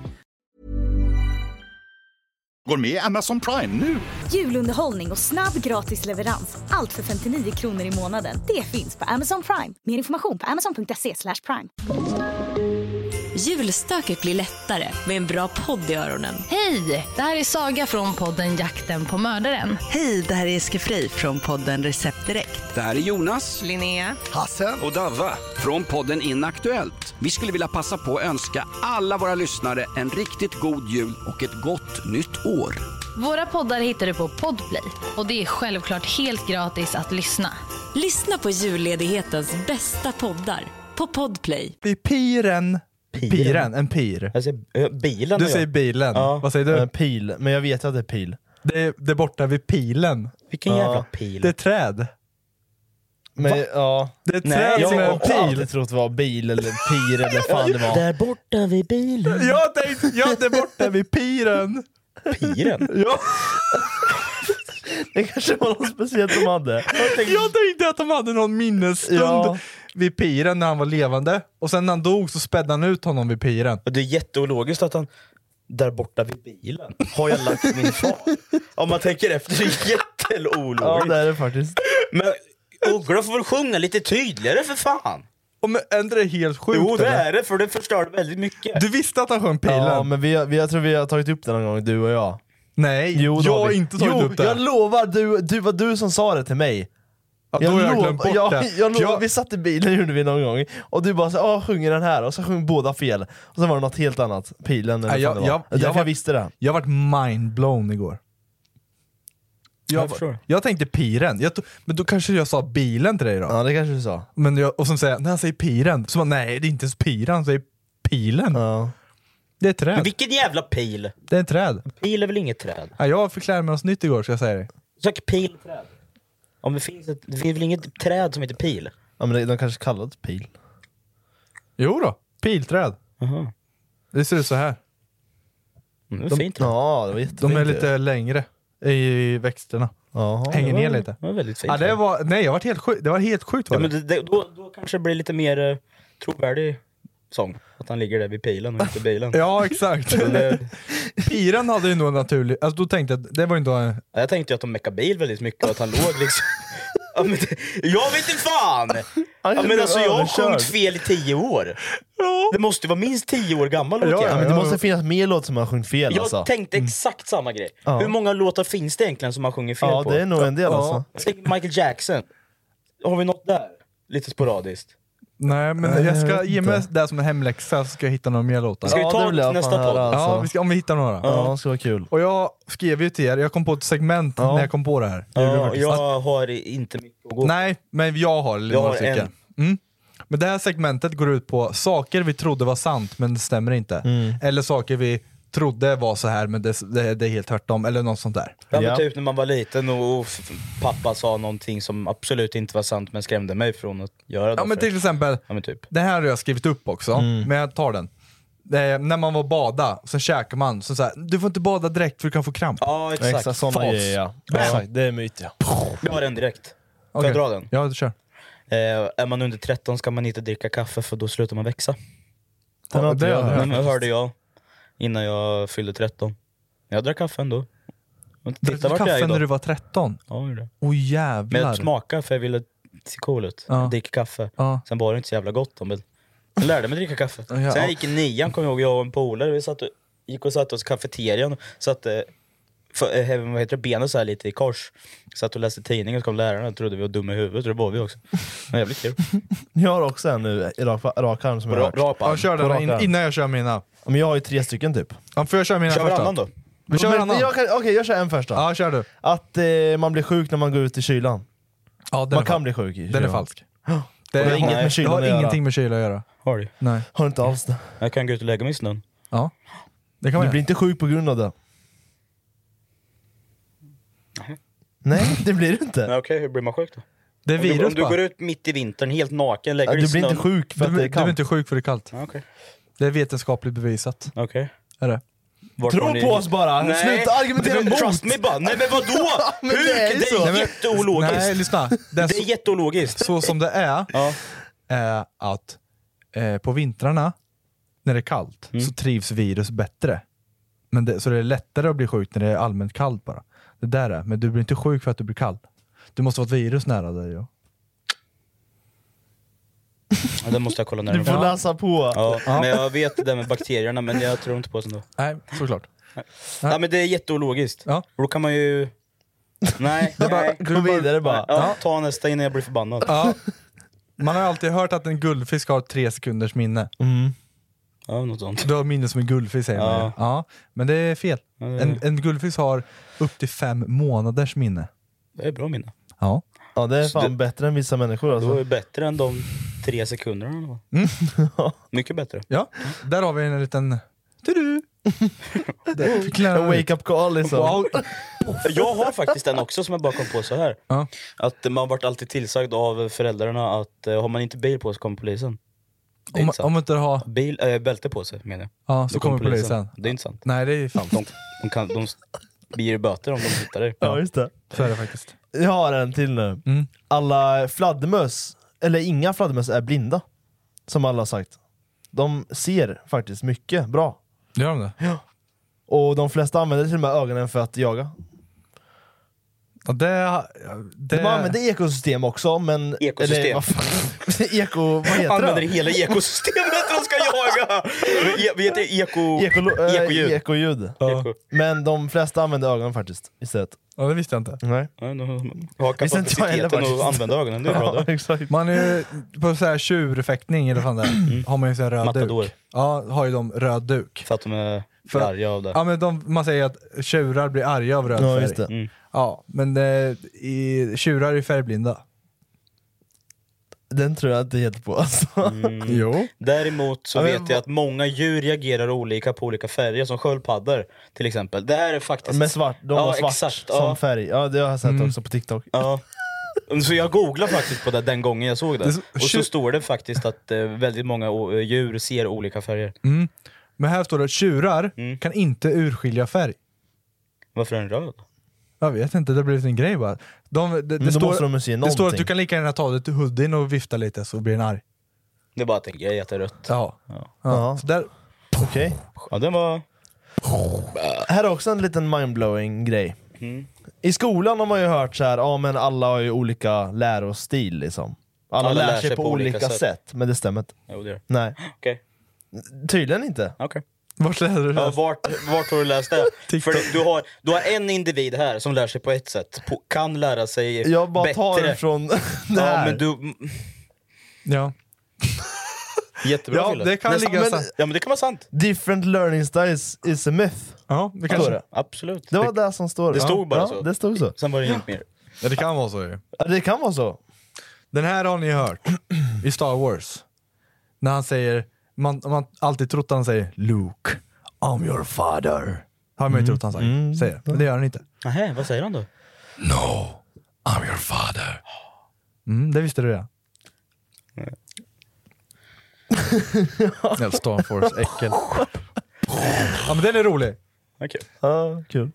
Går med i Amazon Prime nu!
Julunderhållning och snabb gratis leverans. Allt för 59 kronor i månaden. Det finns på Amazon Prime. Mer information på amazon.se slash prime.
Julstöket blir lättare med en bra podd i öronen. Hej! Det här är Saga från podden Jakten på mördaren. Hej, det här är Eske Frey från podden Recept Direkt.
Det här är Jonas,
Linnea.
Hasse och Davva från podden Inaktuellt. Vi skulle vilja passa på att önska alla våra lyssnare en riktigt god jul och ett gott nytt år.
Våra poddar hittar du på Podplay och det är självklart helt gratis att lyssna. Lyssna på julledighetens bästa poddar på Podplay.
vid piren.
Piren?
Piren, en pir.
Jag säger eh, bilen.
Du
och jag.
säger bilen.
Ja.
Vad säger
Eh,
du?
Pil, men jag vet att det är pil.
Det är, det är borta vid pilen.
Vilken jävla pil?
Det är träd.
Men,
Va?
ja.
Det är ett
Nej,
träd
jag
som är
har
en pil.
alltid trott det var bil eller pir eller fan det var.
Där
borta vid bilen.
Jag tänkte, ja det är borta vid piren.
Piren?
Ja.
Det kanske var något speciellt de hade.
Jag tänkte att de hade någon minnesstund
Ja.
vid piren när han var levande. Och sen när han dog så spädde han ut honom vid piren.
Det är jätteologiskt att han... Där borta vid bilen har jag lagt min far. Om man tänker efter, det är jätteologiskt.
Ja det är det faktiskt.
Men Uggla får väl sjunga lite tydligare för fan.
Och men, är inte det helt sjukt?
Jo det
eller?
är det, för det förstör väldigt mycket.
Du visste att han sjöng pilen?
Ja men vi, har- vi, jag tror vi har tagit upp det någon gång du och jag.
Nej,
Jo, det
jag har
vi.
inte tagit
jo,
upp det.
Jag lovar, du, du var du som sa det till mig.
Ja, då har jag glömt bort
jag,
det.
Jag lovar,
Jag-
Vi satt i bilen gjorde vi någon gång och du bara så, ah, sjunger den här och så sjöng båda fel. Och sen var det något helt annat, pilen eller
Nej,
vad fan
jag,
det var.
jag,
Därför
jag,
jag visste det.
Jag vart mindblown igår.
Jag
Jag,
förstår.
jag, tänkte piren, jag, to- men då kanske jag sa bilen till dig då?
Ja det kanske du sa.
Men jag, och sen säger jag, när han säger piren, så bara, nej det är inte ens piren, han säger pilen. Det är ett
Men
träd.
vilken jävla pil?
Det är ett träd.
Pil är väl inget träd?
Ja, jag förklärde mig oss nytt igår ska jag säga dig.
Sök pil. Träd. Om det finns ett... Det finns väl inget träd som heter pil? Mm,
Ja men det- de kanske kallar det pil.
Jo då, pilträd. Det ser ut så här.
Mm,
De-
fint.
Ja det var jättefint.
De är
ju.
lite längre i växterna.
Jaha.
Hänger
det
ner
var-
lite.
det var väldigt fint.
Ja, det var, nej, jag var helt sjukt. Det var helt sjukt var
Ja,
det.
men det, det, då, då kanske det blir lite mer eh, trovärdig sång. Att han ligger där vid pilen och inte bilen.
Ja, exakt.
Men det-
Piran hade ju nog en naturlig... Alltså, då tänkte jag att det var inte... en-
Ja, Jag tänkte ju att de meckade bil väldigt mycket och att han låg liksom... Ja, men det, jag vet inte fan! Ja, men
blev
alltså, jag har
överkörd.
sjungit fel i tio år. Det måste ju vara minst tio år gammal låt.
Ja,
jag.
men det måste finnas mer låt som har sjungit fel
jag
alltså.
tänkte exakt samma grej.
Ja.
Hur många låtar finns det egentligen som han sjunger fel
Ja
på?
det är nog en del
Ja.
alltså.
Jag tänker Michael Jackson. Har vi något där? Lite sporadiskt.
Nej, men
Nej,
jag
jag
ska
vet
ge mig
inte.
det som en hemläxa så ska jag hitta några mer låtar.
Ska vi
Ja,
ta
det vill jag
nästa
fan höra,
podd?
alltså.
Ja, vi ska, om vi hittar några.
Ja, det ska vara kul.
Och jag skrev ju till er, jag kom på ett segment
Ja.
när jag kom på det här.
Ja, jag har inte mycket att gå
Nej, men jag har
Jag
några
har
stycken. Mm. Men det här segmentet går ut på saker vi trodde var sant men det stämmer inte.
Mm.
Eller saker vi trodde var så här men det, det, det är helt tvärtom, eller något sånt där.
Ja,
Ja.
men typ när man var liten och, och f- pappa sa någonting som absolut inte var sant men skrämde mig från att göra det.
Ja men
för-
till exempel,
ja, men typ. Mm.
Det här har jag skrivit upp också, men jag tar den. Eh, när man var bada, sen käkar man, så så här, du får inte bada direkt för du kan få kramp.
Ja exakt.
Exakt, sådana
Fas.
grejer ja. Exakt, det är myt ja.
Jag har en direkt. Får
Okej.
jag dra den?
Ja, du kör.
Eh, är man under 13 ska man inte dricka kaffe för då slutar man växa.
Den har inte
det
jag
har
hört.
jag.
Den hörde jag innan jag fyllde 13. Jag drack kaffe ändå. Men Titta
Drack
vart
du
jag är
kaffe när
idag.
du var 13?
Ja, jag gjorde det.
Åh
Men
jävlar.
jag smakade för jag ville se cool ut.
Ja.
Jag dricker kaffe.
Ja.
Sen var det inte så jävla gott då, men jag lärde mig dricka kaffe.
Ja, ja.
Sen jag gick i nian kommer jag ihåg, jag och en polare, vi satt och, gick och satte oss i kafeterian. och Satte, för, eh, vad heter det, benen så här lite i kors. Satt och läste tidningen och så kom läraren och trodde vi var dumma i huvudet, och det var vi också. Men jävligt kul.
Jag har också en nu, i rak, rak arm som jag har
Bra,
hört.
bra
Ja,
pan.
kör den
Raka.
in, innan jag kör mina.
Ja, Men jag har ju tre stycken typ.
Ja, får jag köra mina
Kör
först
varannan då.
Vi kör
Men
varannan.
jag kan- Okej, jag kör en först då.
Ja, kör du.
Att eh, man blir sjuk när man går ut i kylan.
Ja, den
Man kan
är falsk.
bli sjuk i kylan.
Den är falsk. Det,
Och det har
har-
inget med
det
kylan
har
att göra.
ingenting med kyla att göra.
Har du?
Nej.
Har inte alls det.
Jag kan gå ut och lägga mig i snön.
Ja. Det kan man
Du
göra.
blir inte sjuk på grund av det. Nej, det blir du inte.
Nej, Okej, hur blir man sjuk då?
Det är
Om du, om
virus
du
bara.
går ut mitt i vintern helt naken,
Ja,
lägger dig
Du
i snön.
blir inte sjuk för
Du,
att det
blir-
är
du blir
kallt.
inte sjuk för det är kallt.
Ja, Okej.
Det är vetenskapligt bevisat.
Okej.
Är det?
Vart har
Tro
ni-
på oss bara!
Nej.
Sluta argumentera
Men
emot!
Trust me bara! Nej men vadå?
Men
Hur?
det
Det
är ju så.
är,
Nej, men-
jätteologiskt.
Nej, lyssna. Det är
Det är
så,
jätteologiskt.
så som det är.
Ja.
är att eh, på vintrarna, när det är kallt, så trivs virus bättre. Men det, så det är lättare att bli sjuk när det är allmänt kallt bara. Det där är, men du blir inte sjuk för att du blir kall. Du måste ha ett virus nära dig. Ja.
Ja, det måste jag kolla
Du
närmare
får
på.
läsa på.
Ja. Men jag vet det där med bakterierna men jag tror inte på det ändå.
Nej, såklart.
Ja men det är jätteologiskt.
Ja.
Då kan man ju... Nej, nej.
Gå vidare bara.
Ja, ta nästa innan jag blir förbannad.
Ja. Man har ju alltid hört att en guldfisk har tre sekunders minne.
Ja, något sånt.
Du har minne som en guldfisk säger man ju.
Ja.
ja, Men det är fel. En, en guldfisk har upp till fem månaders minne.
Det är bra minne.
Ja.
Ja, det är
Så
fan
det-
bättre än vissa människor
Det var
alltså. Mm.
ju bättre än de tre sekunderna. eller vad? Mycket bättre.
ja, där har vi en liten... Tudu!
En wake-up call
liksom. Wow.
Jag har faktiskt en också som jag bara kom på så här. Att man vart alltid tillsagd av föräldrarna att eh, har man inte bil på sig kommer polisen. Det är
Om,
inte sant.
om inte du har...
Bil, äh, bälte på sig menar jag.
Ja,
Då
så kommer polisen.
Det är inte sant.
Nej, det är falskt.
De, de, kan, de ger böter om de hittar dig.
Ja, just det.
Så är det faktiskt.
Jag har en till nu. Alla fladdermöss, eller inga fladdermöss, är blinda. Som alla har sagt. De ser faktiskt mycket bra.
Gör de det?
Ja. Och de flesta använder till och med ögonen för att jaga.
Ja, det, det...
De använder ekosystem också, men...
Ekosystem.
vad fan- Eko... Vad heter det?
Använder hela ekosystemet de ska jaga! E- Vad heter det? Eko...
Ekolo- eh,
Ekoljud.
Ekoljud.
Eko.
Men de flesta använder ögonen faktiskt istället.
Ja, det visste jag inte.
Nej.
Ja, de har
Visste inte jag heller
kapaciteten att
faktiskt.
använda ögonen, det är bra det.
Man är ju på så här tjurfäktning eller vad fan det är, har man ju så här röd
Mm. Matador.
duk. Ja, har ju de röd duk.
För att de är
För-
arga av det.
Ja, men de, man säger att tjurar blir arga av röd
Ja,
färg.
just det.
Mm.
Ja, men eh, i, tjurar är färgblinda.
Den tror jag inte helt på alltså.
Jo.
Däremot så
Ja, men
vet jag att många djur reagerar olika på olika färger, som sköldpaddor till exempel. Det här är faktiskt...
Med svart, de
ja,
har svart
exakt,
som
ja,
färg. Ja, det har jag sett
Mm.
också på TikTok.
ja. Så jag googlade faktiskt på det den gången jag såg det.
Det är så-
Och så
tju-
står det faktiskt att eh, väldigt många o- djur ser olika färger.
Mm. Men här står det att tjurar kan inte urskilja färg.
Varför är den röd?
Jag vet inte, det har blivit en grej bara. De, det,
då
det, står,
måste de ju se
det står att
någonting.
du kan lika gärna ta dig till hoodien och vifta lite så blir den arg.
Det är bara att en grej att det är rött.
Ja.
Ja.
Ja. Så där,
Okej.
Ja, den var...
Här är också en liten mindblowing grej. I skolan har man ju hört så här, ja men alla har ju olika lärostil liksom. Alla, lär, sig på olika sätt. men det stämmer inte.
Jo, det gör det.
Nej,
Okej.
tydligen inte.
Okej.
vart lärde du
Ja,
dig?
vart, vart har du läst det?
TikTok.
För du- du har, du har en individ här som lär sig på ett sätt, på, kan lära sig
Jag bara
bättre.
tar det från det här.
Ja, men du,
Ja.
Jättebra
Ja,
Fille.
det kan
Nästan-
ligga
men-
sant.
Ja men det kan vara sant.
Different learning styles is a myth.
ja, det
Står
kanske...
det.
Absolut.
Det var det som står.
Det stod bara
ja,
så.
Det stod så.
Sen var det inget mer.
Ja, det kan vara så ju.
Ja, det kan vara så.
Den här har ni hört i Star Wars. När han säger, man man alltid trott att han säger Luke, I'm your father. Har
Mm.
man ju trott han säger. säger. Men det gör han inte.
Nähä, vad säger han då?
No, I'm your father. Mm, det visste du ja. Jävla Star Force äckel. Ja men den är rolig.
Okej.
Ja, kul.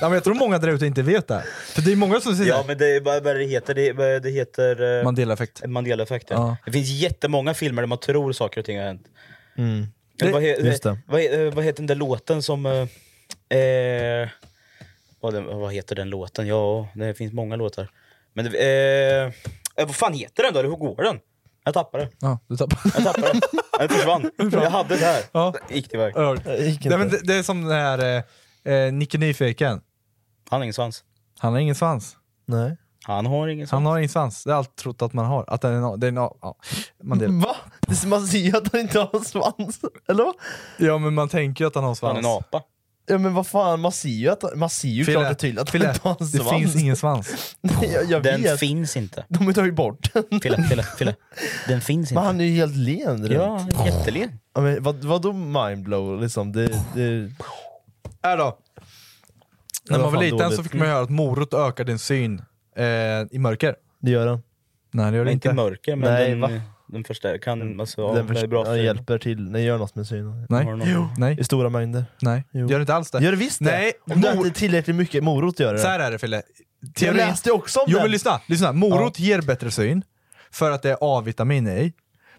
Ja, men jag tror många där ute inte vet det. här. För det är många som säger
Ja men det är bara vad det heter, det, är- det heter... eh,
Mandela-effekt.
Mandela-effekten.
Ja.
Det finns jättemånga filmer där man tror saker och ting har hänt. Eller vad, he,
just det.
Vad, he- eh, vad heter den där låten som... Eh, eh, vad, den, vad heter den låten? Ja, det finns många låtar. Men det, eh, eh, vad fan heter den då? Eller hur går den? Jag tappade den.
Ja, du tappar.
Jag tappade den. Den försvann. Jag hade det här.
Ja.
Gick det iväg.
Ja,
Det gick inte.
Nej, men det, det är som den här eh, eh, Nicke Nyfiken.
Han har ingen svans.
Han har ingen svans.
Nej.
Han har ingen svans.
Han har ingen svans. Det har jag alltid trott att man har. Att den är en, det är en, ja, man delar.
Va? Man ser ju att han inte har svans. Eller vad?
ja, men man tänker ju att han har svans.
Han är en apa.
Ja men vad fan, man ser ju, att, man ser ju
Fille,
klart och tydligt att han
Fille,
inte har en
det
svans.
finns ingen svans.
jag, jag
Den
vet.
finns inte.
De tar ju bort den.
Fille, Fille, Fille. Den finns
Men
inte.
han är ju helt len runt.
Ja, jättelen.
Ja, men vad, vadå mindblow liksom? Det, det...
Äh då.
var
När man var
fan
liten
dåligt.
så fick man ju höra att morot ökar din syn eh, i mörker.
Det gör den.
Nej, det gör det
Inte
inte.
i mörker, men
Nej,
den,
va?
den förstärker. Kan, alltså, ja,
den
det är
förs-
bra
ja,
för-
hjälper till, den gör något med synen.
Nej.
Har du någon- Jo.
Nej.
I stora mängder.
Nej.
Jo.
Gör det inte alls det?
Gör det visst det?
Nej.
Om det
Mor-
inte är tillräckligt mycket morot gör det.
Så här är det Fille.
jag
Teorin-
läste också om
Jo
den.
men lyssna, lyssna. morot ger bättre syn för att det är A-vitamin i.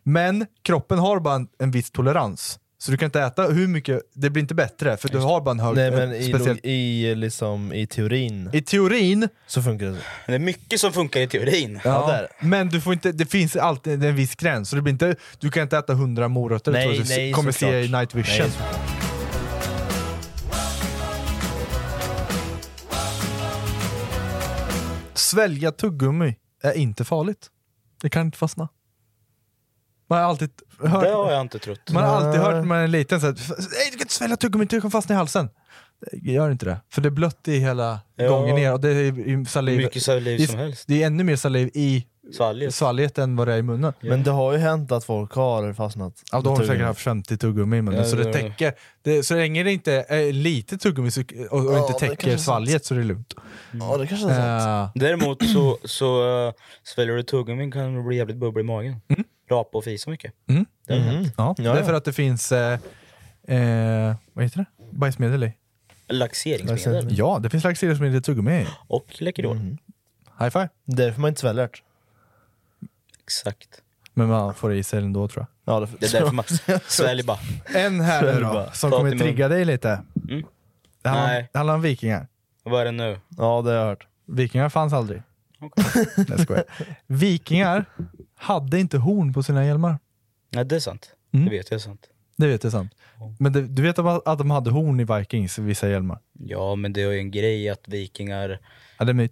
Men kroppen har bara en, en viss tolerans. Så du kan inte äta hur mycket, det blir inte bättre för du har bara en hög...
Nej men
eh,
i,
speciell-
log- i, liksom, i teorin
I teorin,
så funkar det så.
Det är mycket som funkar i teorin.
ja,
det är det.
men du får inte, det finns alltid en viss gräns. Så det blir inte, du kan inte äta 100 morötter
Nej,
tror jag, du
nej,
kommer
såklart.
se i night vision.
Nej, såklart.
Svälja tuggummi är inte farligt. Det kan inte fastna. Man har alltid hört...
Det har jag inte trott.
Man har alltid hört när man är liten såhär, nej du kan inte svälja tuggummi, du kan fastna i halsen. Gör inte det, för det är blött i hela
Ja.
gången ner och det är i saliv.
Mycket saliv
det är,
som helst.
Det är ännu mer saliv i
Svalget.
svalget än vad det är i munnen.
Men det har ju hänt att folk har fastnat.
Ja, då har de
Naturligt.
säkert haft 50 tuggummi i munnen,
Ja,
så det
det-
täcker. Det, så länge det inte är lite tuggummi så, och, och
Ja,
inte
det kanske
täcker
är
svalget så är det lugnt. Eh,
Ja, det kanske
är sant.
Däremot så, så eh, sväljer du tuggummin kan du bli jävligt bubblig i magen.
Mm.
Rapa och fisa mycket.
Mm.
Det har hänt.
Ja,
Ja,
det är för
ja.
att det finns, eh, eh, vad heter det? Bajsmedel i.
Laxeringsmedel.
Ja, det finns laxeringsmedel i tuggummi.
Och Läkerol.
Mm. High five.
Därför man inte sväljer det.
Exakt.
Men man får i sig ändå tror
jag. Ja,
Det är därför man sväljer bara.
En här nu
Sväljer
då,
bara.
som
Ta
kommer
till mun.
trigga dig lite.
Mm.
Det handlar,
Nej.
det handlar om vikingar.
Vad är det nu?
Ja, det har jag hört.
Vikingar fanns aldrig. Okay. Nej, skojar. Vikingar hade inte horn på sina hjälmar.
Nej, det är sant.
Mm.
Det vet jag är sant.
Det vet jag sant. Men det, du vet att att de hade horn i Vikings, vissa hjälmar?
Ja, men det är ju en grej att vikingar...
Ja, det är en myt.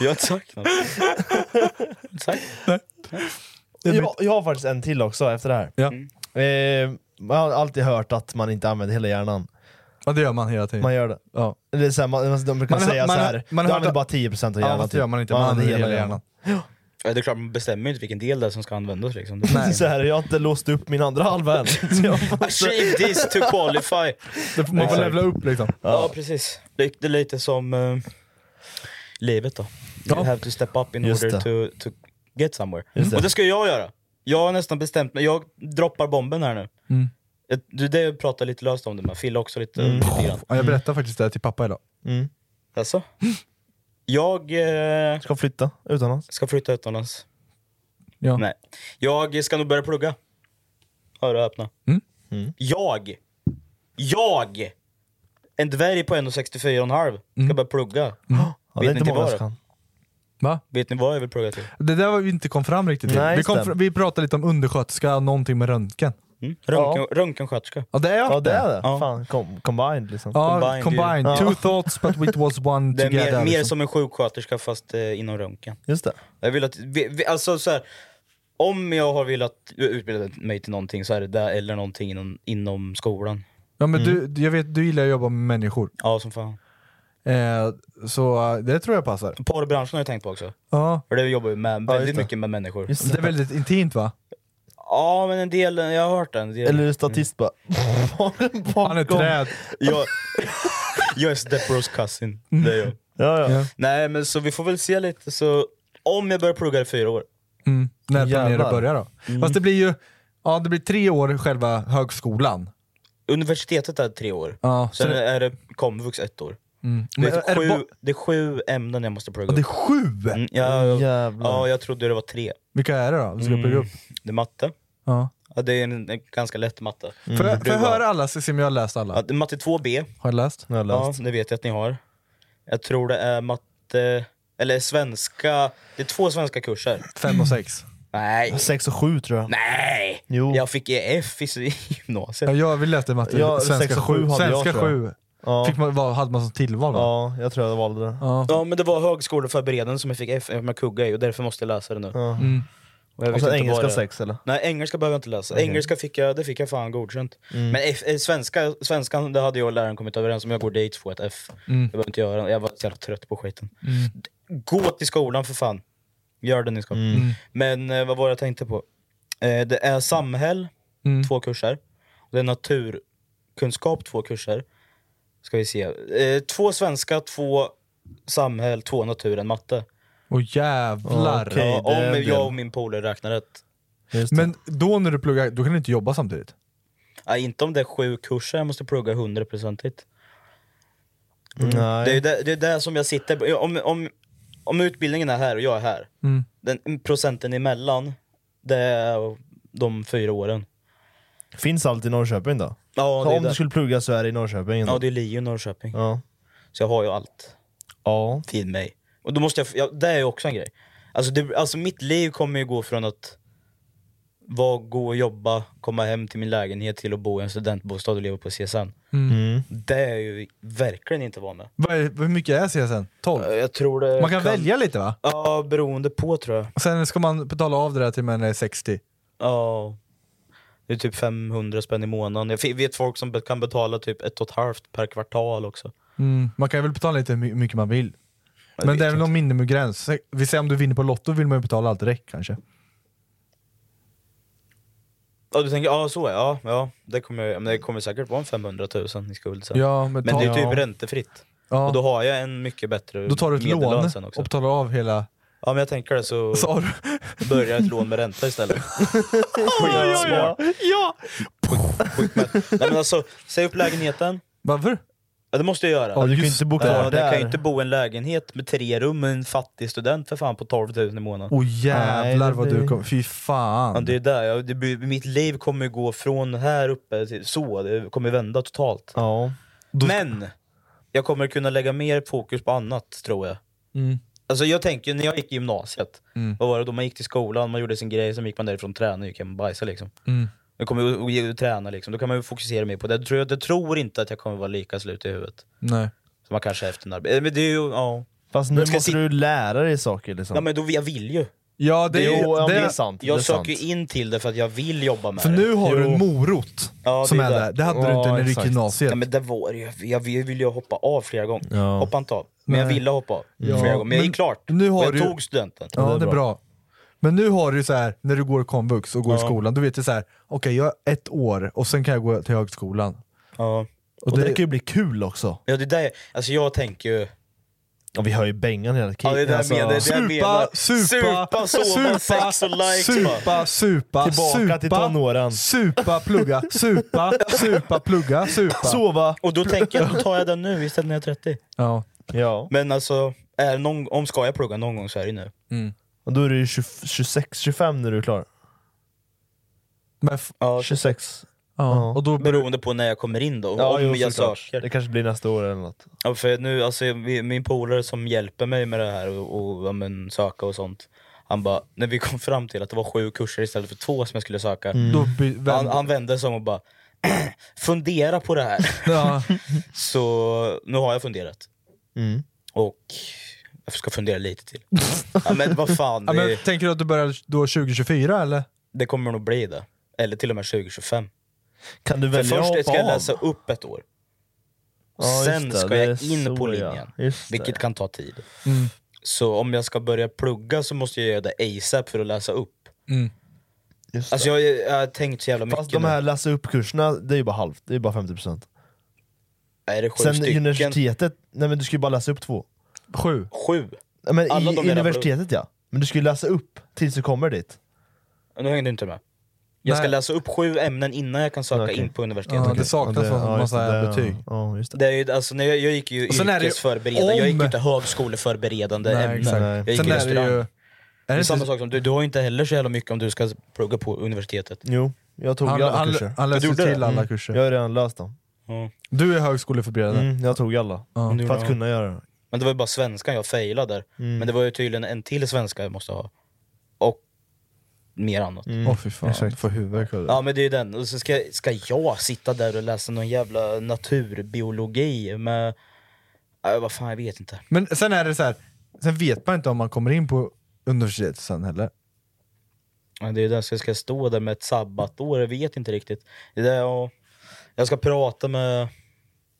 Jag har inte sagt något. Exakt.
Jag, jag har faktiskt en till också efter det här. Eh, man har alltid hört att man inte använder hela hjärnan.
Ja det gör man hela tiden.
Man gör det.
Ja.
Det är så här, man, de brukar
Man har-
säga
man
så
har-
här.
man har
du
hört
använder
att-
bara 10% av
Ja,
hjärnan.
fast det
typ.
gör man inte. Man använder hela hjärnan.
Ja, det är klart, man bestämmer ju inte vilken del det är som ska användas. Liksom.
Så här, jag har inte låst upp min andra halva än. Så jag måste-
Achieve this to qualify.
Det får- man får
Exakt.
levla upp liksom.
Ja, precis. Det det är lite som eh, livet då. You have to step up in
Just
order
det.
to, to get somewhere.
Just det.
Och det ska jag göra. Jag har nästan bestämt mig. Jag droppar bomben här nu.
Mm.
Jag- Det, det jag pratade lite löst om det med. Fille också lite,
Mm.
lite grann.
Ja, jag berättade faktiskt det här till pappa idag.
Alltså? Jag... Eh,
ska flytta utomlands.
Ska flytta utomlands.
Ja.
Nej. Jag ska nog börja plugga. Hör och öppna.
Mm.
Jag! Jag! En dvärg på 1,64,5 ska
Mm.
börja plugga.
Ja, det är inte många
vad?
som kan.
Va?
Vet ni vad jag vill plugga till?
Det där var vi inte kom fram riktigt till.
Nej,
vi,
just
kom
det.
fr- vi pratade lite om undersköterska, någonting med röntgen.
Mm. Röntgen, Röntgensköterska.
Ja det är
Ja, det är det.
Ja.
Fan, com- combined liksom.
Ja,
Combined,
combined.
ju.
Two
Ja.
thoughts but it was one
Det är
together.
mer, mer
liksom.
som en sjuksköterska fast eh, inom röntgen.
Just det.
Jag vill att, vi, vi, alltså så här, om jag har velat utbilda mig till någonting så är det där eller någonting inom, inom skolan.
Ja, men du,
Mm.
du- jag vet, du gillar att jobba med människor.
Ja som fan.
Eh, så eh, det tror jag passar.
Porrbranschen har jag tänkt på också.
Ja.
För det jobbar ju med, väldigt
just det.
mycket med människor.
Det är väldigt intimt va?
Ja men en del, jag har hört den. en Del.
Eller statist bara.
Han är träd.
Jag, jag är Stepbros cousin. Det är jag.
Ja, ja.
Nej men så vi får väl se lite så, om jag börjar plugga i fyra år.
Mm. När planerar du
Jävlar.
att börja då?
Mm.
Fast det blir ju ja, det blir tre år själva högskolan.
Universitetet är tre år,
Ja, så
sen
det-
är det komvux ett år.
Mm.
Det
Men
är, typ
är det
sju,
ba-
det är sju ämnen jag måste plugga
Ja, det är
upp.
sju!
Mm, ja,
Jävlar.
ja, jag trodde det var tre.
Vilka är det då? Vi ska plugga upp.
Det är matte.
Ja.
Ja, det är en, en ganska lätt matte.
Mm.
Får jag, får jag
Du har-
höra alla så ser jag har läst alla?
Ja, det är matte 2B.
Har jag läst?
Jag
Ja, det vet jag att ni har. Jag tror det är matte, eller svenska, det är två svenska kurser.
Fem och sex.
Nej,
Sex och sju tror jag.
nej!
Jo.
Jag fick ge F i s- i gymnasiet.
Ja, jag vill läsa matte.
Ja,
svenska
sex och
sju.
sju hade jag,
Svenska
tror jag.
sju.
Ja.
Fick man, vad, hade man som tillval? Va?
Ja, jag tror jag valde det.
Ja.
Ja men det var högskoleförberedande som jag fick F eftersom jag kuggade i och därför måste jag läsa det nu.
Ja.
Mm.
Och, jag
Och
visste
så
inte vad
engelska
det-
sex eller?
Nej engelska behöver jag inte läsa,
Okej. Mm.
engelska fick jag, det fick jag fan godkänt. Men F, eh, svenska, svenskan, det hade jag och läraren kommit överens om, jag går dit får jag ett F.
Mm.
Jag behöver inte göra det. jag var så jävla trött på skiten. Gå till skolan för fan. Gör det ni ska.
Mm.
Mm.
Men eh, vad var det jag tänkte på? Eh, det är samhäll,
Mm.
två kurser. Det är naturkunskap, två kurser. Ska vi se. Eh, två svenska, två samhäll, två natur, en matte.
Åh jävlar.
Okej,
ja,
det är
om
en del.
jag och min polare räknar rätt.
Men då när du pluggar, då kan du inte jobba samtidigt?
Nej, inte om det är sju kurser jag måste plugga hundraprocentigt.
Nej.
Det är det, det, är det som jag sitter... Om, om, om utbildningen är här och jag är här,
Mm.
den procenten emellan, det är de fyra åren.
Finns allt i Norrköping då?
Ja,
så
det är
om du
det.
skulle plugga så är det i Norrköping? ändå.
Ja, det är LiU Norrköping.
ja.
Så jag har ju allt
ja.
till mig. Och då måste jag... Ja, det är ju också en grej. Alltså, det, alltså mitt liv kommer ju gå från att vara, gå och jobba, komma hem till min lägenhet till att bo i en studentbostad och leva på CSN.
Mm.
Det är jag ju verkligen inte van med.
Vad är, hur mycket är CSN? 12?
Jag tror det
Man kan välja lite va?
Ja, beroende på tror jag.
Sen ska man betala av det där till man är 60.
Ja. Det är typ 500 spänn i månaden. Jag fi- vet folk som be- kan betala typ ett och ett halvt per kvartal också.
Man kan väl betala lite hur my- mycket man vill? Men det är väl någon minimigräns? Vi säger om du vinner på Lotto vill man ju betala allt direkt kanske.
Ja du tänker, ja så är ja, ja det kommer, men det kommer säkert vara en 500 000 i skuld sen.
Ja, men
men
ta-
det är typ
ja.
räntefritt.
Ja.
Och då har jag en mycket bättre
Då tar du ett
medellön
lån
sen också.
och betalar av hela...
Ja men jag tänker det så
Sa
börjar jag ett lån med ränta istället.
ja, ja.
Nej men alltså, säg upp lägenheten.
Varför?
Ja, det måste jag göra.
Ja, du kan ju inte bo kvar
ja,
där.
Jag kan ju inte bo i en lägenhet med tre rum med en fattig student för fan på 12 000 i månaden.
Åh jävlar vad du kommer... Fy
Ja,
fan.
det är där. Jag, det, blir- mitt liv kommer ju gå från här uppe till så, det kommer vända totalt. Men! Jag kommer kunna lägga mer fokus på annat, tror jag.
Mm.
Alltså jag tänker, när jag gick i gymnasiet,
Mm.
vad var det då? Man gick till skolan, man gjorde sin grej, sen gick man därifrån och tränade, gick hem och bajsade liksom.
Mm.
Jag kommer ju och, och, och träna liksom, då kan man ju fokusera mer på det. Jag tror, jag tror inte att jag kommer vara lika slut i huvudet.
Nej.
Som man kanske är efter en arbete. Men det är ju, ja.
Fast nu måste du lära dig saker liksom.
Ja men då, jag vill ju.
Ja
det är-
ju-
ja, det är sant,
Jag
det är sant.
söker ju in till det för att jag vill jobba med
För
det.
nu har du en morot
Ja,
som
det
är
är det.
där. Det hade du inte när du gick i gymnasiet.
Ja, men det var det ju. Jag ville vill ju hoppa av flera gånger.
Ja.
Hoppa inte av. Men jag
Nej.
ville hoppa av
Ja,
flera gånger. Men jag gick klart.
Nu har
och jag
du-
tog studenten.
Ja, det är, bra. Men nu har du så här när du går komvux och går i
Ja.
skolan, du vet ju så här, okej jag har ett år och sen kan jag gå till högskolan.
Ja.
Och det kan ju bli kul också.
Ja, det där, alltså jag tänker ju...
Ja, vi har ju bängan hela
Ja, det är det jag
Alltså,
menar, det är det jag menar. Supa, sova, sex och likes,
Alltså, supa,
bara.
supa,
Tillbaka
supa,
till tonåren.
supa, plugga, supa, supa, plugga, supa.
Sova.
Och då tänker jag, då tar jag den nu istället när jag är 30.
Ja.
Ja.
Men alltså, är det någon, om ska jag plugga någon gång så är det nu.
Och då är du ju 26-25 när du är klar.
Men f-
Ja,
26.
ja. Och då,
Beroende på när jag kommer in då.
Ja,
om
jo,
jag
såklart.
söker.
Det kanske blir nästa år eller något.
Ja, för nu, alltså, vi- min polare som hjälper mig med det här och, och ja, men, söka och sånt. Han bara, när vi kom fram till att det var sju kurser istället för två som jag skulle söka.
Mm.
då by- vänd-
Han, han vände sig om och bara, fundera på det här.
ja.
Så nu har jag funderat.
Mm.
Och jag ska fundera lite till. ja, men vad fan,
Ja, men,
det,
tänker du att du börjar då 2024 eller?
det kommer nog bli det. Eller till och med 2025.
Kan du
För
välja
först
att
ska jag
hoppa av?
läsa upp ett år.
Ja,
Sen
just det,
ska
det
jag
är
in
så,
på
ja.
linjen,
Just det, Mm.
vilket
ja.
kan ta tid. Så om jag ska börja plugga så måste jag göra det ASAP för att läsa upp.
Mm. Just
Alltså jag, jag har tänkt så jävla mycket
Fast de här läsa upp-kurserna, det är ju bara halvt, det är ju bara 50%.
nu. Är det sju
Sen
stycken?
universitetet, nej men du ska ju bara läsa upp två.
Sju.
Sju?
Ja, Men
Alla
i,
de
i
där
universitetet ja, men du ska ju läsa upp tills du kommer dit.
Nu hängde du inte med. Jag ska
Nej.
läsa upp sju ämnen innan jag kan söka
Okej.
in på universitetet.
Ja, det saknas
Ja, det- ja, just
massa
det, ja.
betyg.
Ja, just det.
Det är ju, alltså, när jag, jag gick ju
Och sen är det ju
yrkesförberedande, jag gick
om-
ju inte högskoleförberedande
Nej,
ämnen.
exakt.
Jag gick
Sen
i
är det
restaurang.
ju... Är
Det
det
är samma
inte,
sak som du, du har ju inte heller så jävla mycket om du ska plugga på universitetet.
Jo, jag tog
han,
ju alla
han,
kurser.
han läste
gjorde det?
till alla
Mm.
kurser.
Jag har redan läst dem.
Du är högskoleförberedande.
Mm, jag tog alla.
Ja.
För att kunna göra det.
Men det var ju bara svenskan jag failade där.
Mm.
Men det var ju tydligen en till svenska jag måste ha. Och mer annat.
Mm.
Åh fy fan,
exakt.
får huvudvärk av det.
Ja men det är ju den. Och så ska, ska jag sitta där och läsa någon jävla naturbiologi med... Äh, vad fan, jag vet inte.
Men sen är det så här, sen vet man inte om man kommer in på universitetet sen heller.
Ja, det är ju den, så jag ska stå där med ett sabbatår, jag vet inte riktigt. Det är jag, jag ska prata med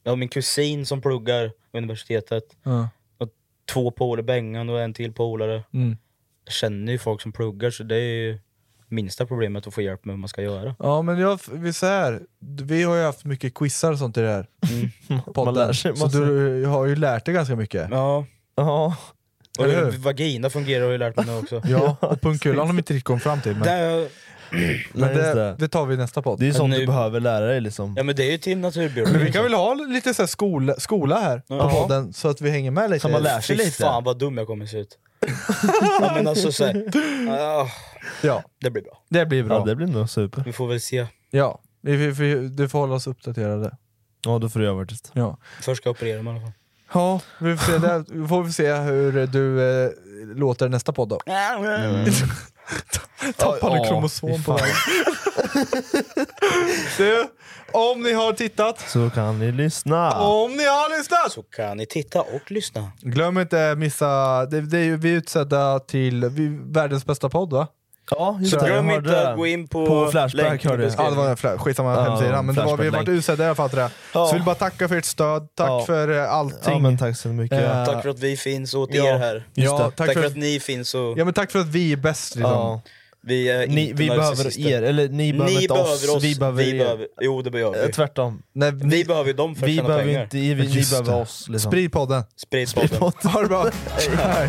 jag har min kusin som pluggar universitetet.
Ja.
Och två polare, Bengan och en till polare.
Mm.
Jag känner ju folk som pluggar så det är ju minsta problemet att få hjälp med hur man ska göra.
Ja men jag, vi, så här, vi har ju haft mycket quizar och sånt i det här podden.
Man lär sig
så
massa.
du har ju lärt dig ganska mycket.
Ja,
Ja.
och
Eller
hur
hur?
vagina fungerar har jag lärt mig nu också.
Ja, och pungkulan har vi inte riktigt kommit fram till. Men,
Det,
men
Nej, just
det,
det.
det tar vi i nästa podd.
Det är ju sånt
nu-
du behöver lära dig liksom.
ja men det är ju till naturbiologi.
Men vi kan väl ha lite så här skola, skola här på podden så att vi hänger med lite.
Så man lär sig
Fy
lite.
fan vad dum jag kommer se ut. ja, men alltså så här, ah,
Ja,
det blir bra.
det blir bra.
Ja, det blir nog super.
Vi får väl se.
Ja, vi, vi, vi, du får hålla oss uppdaterade.
Ja, då får du göra vart det.
Ja.
Först ska jag operera mig i alla fall.
Ja, vi får se, där, får vi se hur du eh, låter i nästa podd då. Tappade
Ja,
kromosom
fy fan.
på vägen. du, om ni har tittat,
Så kan ni lyssna.
om ni har lyssnat!
Så kan ni titta och lyssna.
Glöm inte missa, det, det är, ju- vi är utsedda till vi, världens bästa podd va?
Ja, just
Så
det.
glöm
Jag
inte
hörde det.
att gå in på
Flashback
länk i
hörde jag.
Ja, det var en fla- skitsamma
Ja,
hemsida. Men det var, vi
Flashback-länk.
vart utsedda i alla fall till det.
Ja.
Så vill bara tacka för ert stöd, tack
Ja.
för eh, allting.
Ja, men tack så mycket.
Eh,
Tack för att vi finns åt
ja,
er här.
just det.
tack,
Tack
för
för-
att ni finns och
Ja men tack för att vi är bäst liksom.
Ja.
vi är
Ni,
inte
vi behöver
narcissister.
er, eller ni behöver
Ni
inte oss,
behöver oss,
vi behöver er.
Jo det behöver
Eh,
vi.
Tvärtom.
Nej,
Vi behöver ju dem för att
Vi
tjäna
behöver
pengar.
inte, vi, ni
Just
behöver
det.
oss. Liksom.
Sprid podden.
Sprid podden.
Ha det bra. Hej.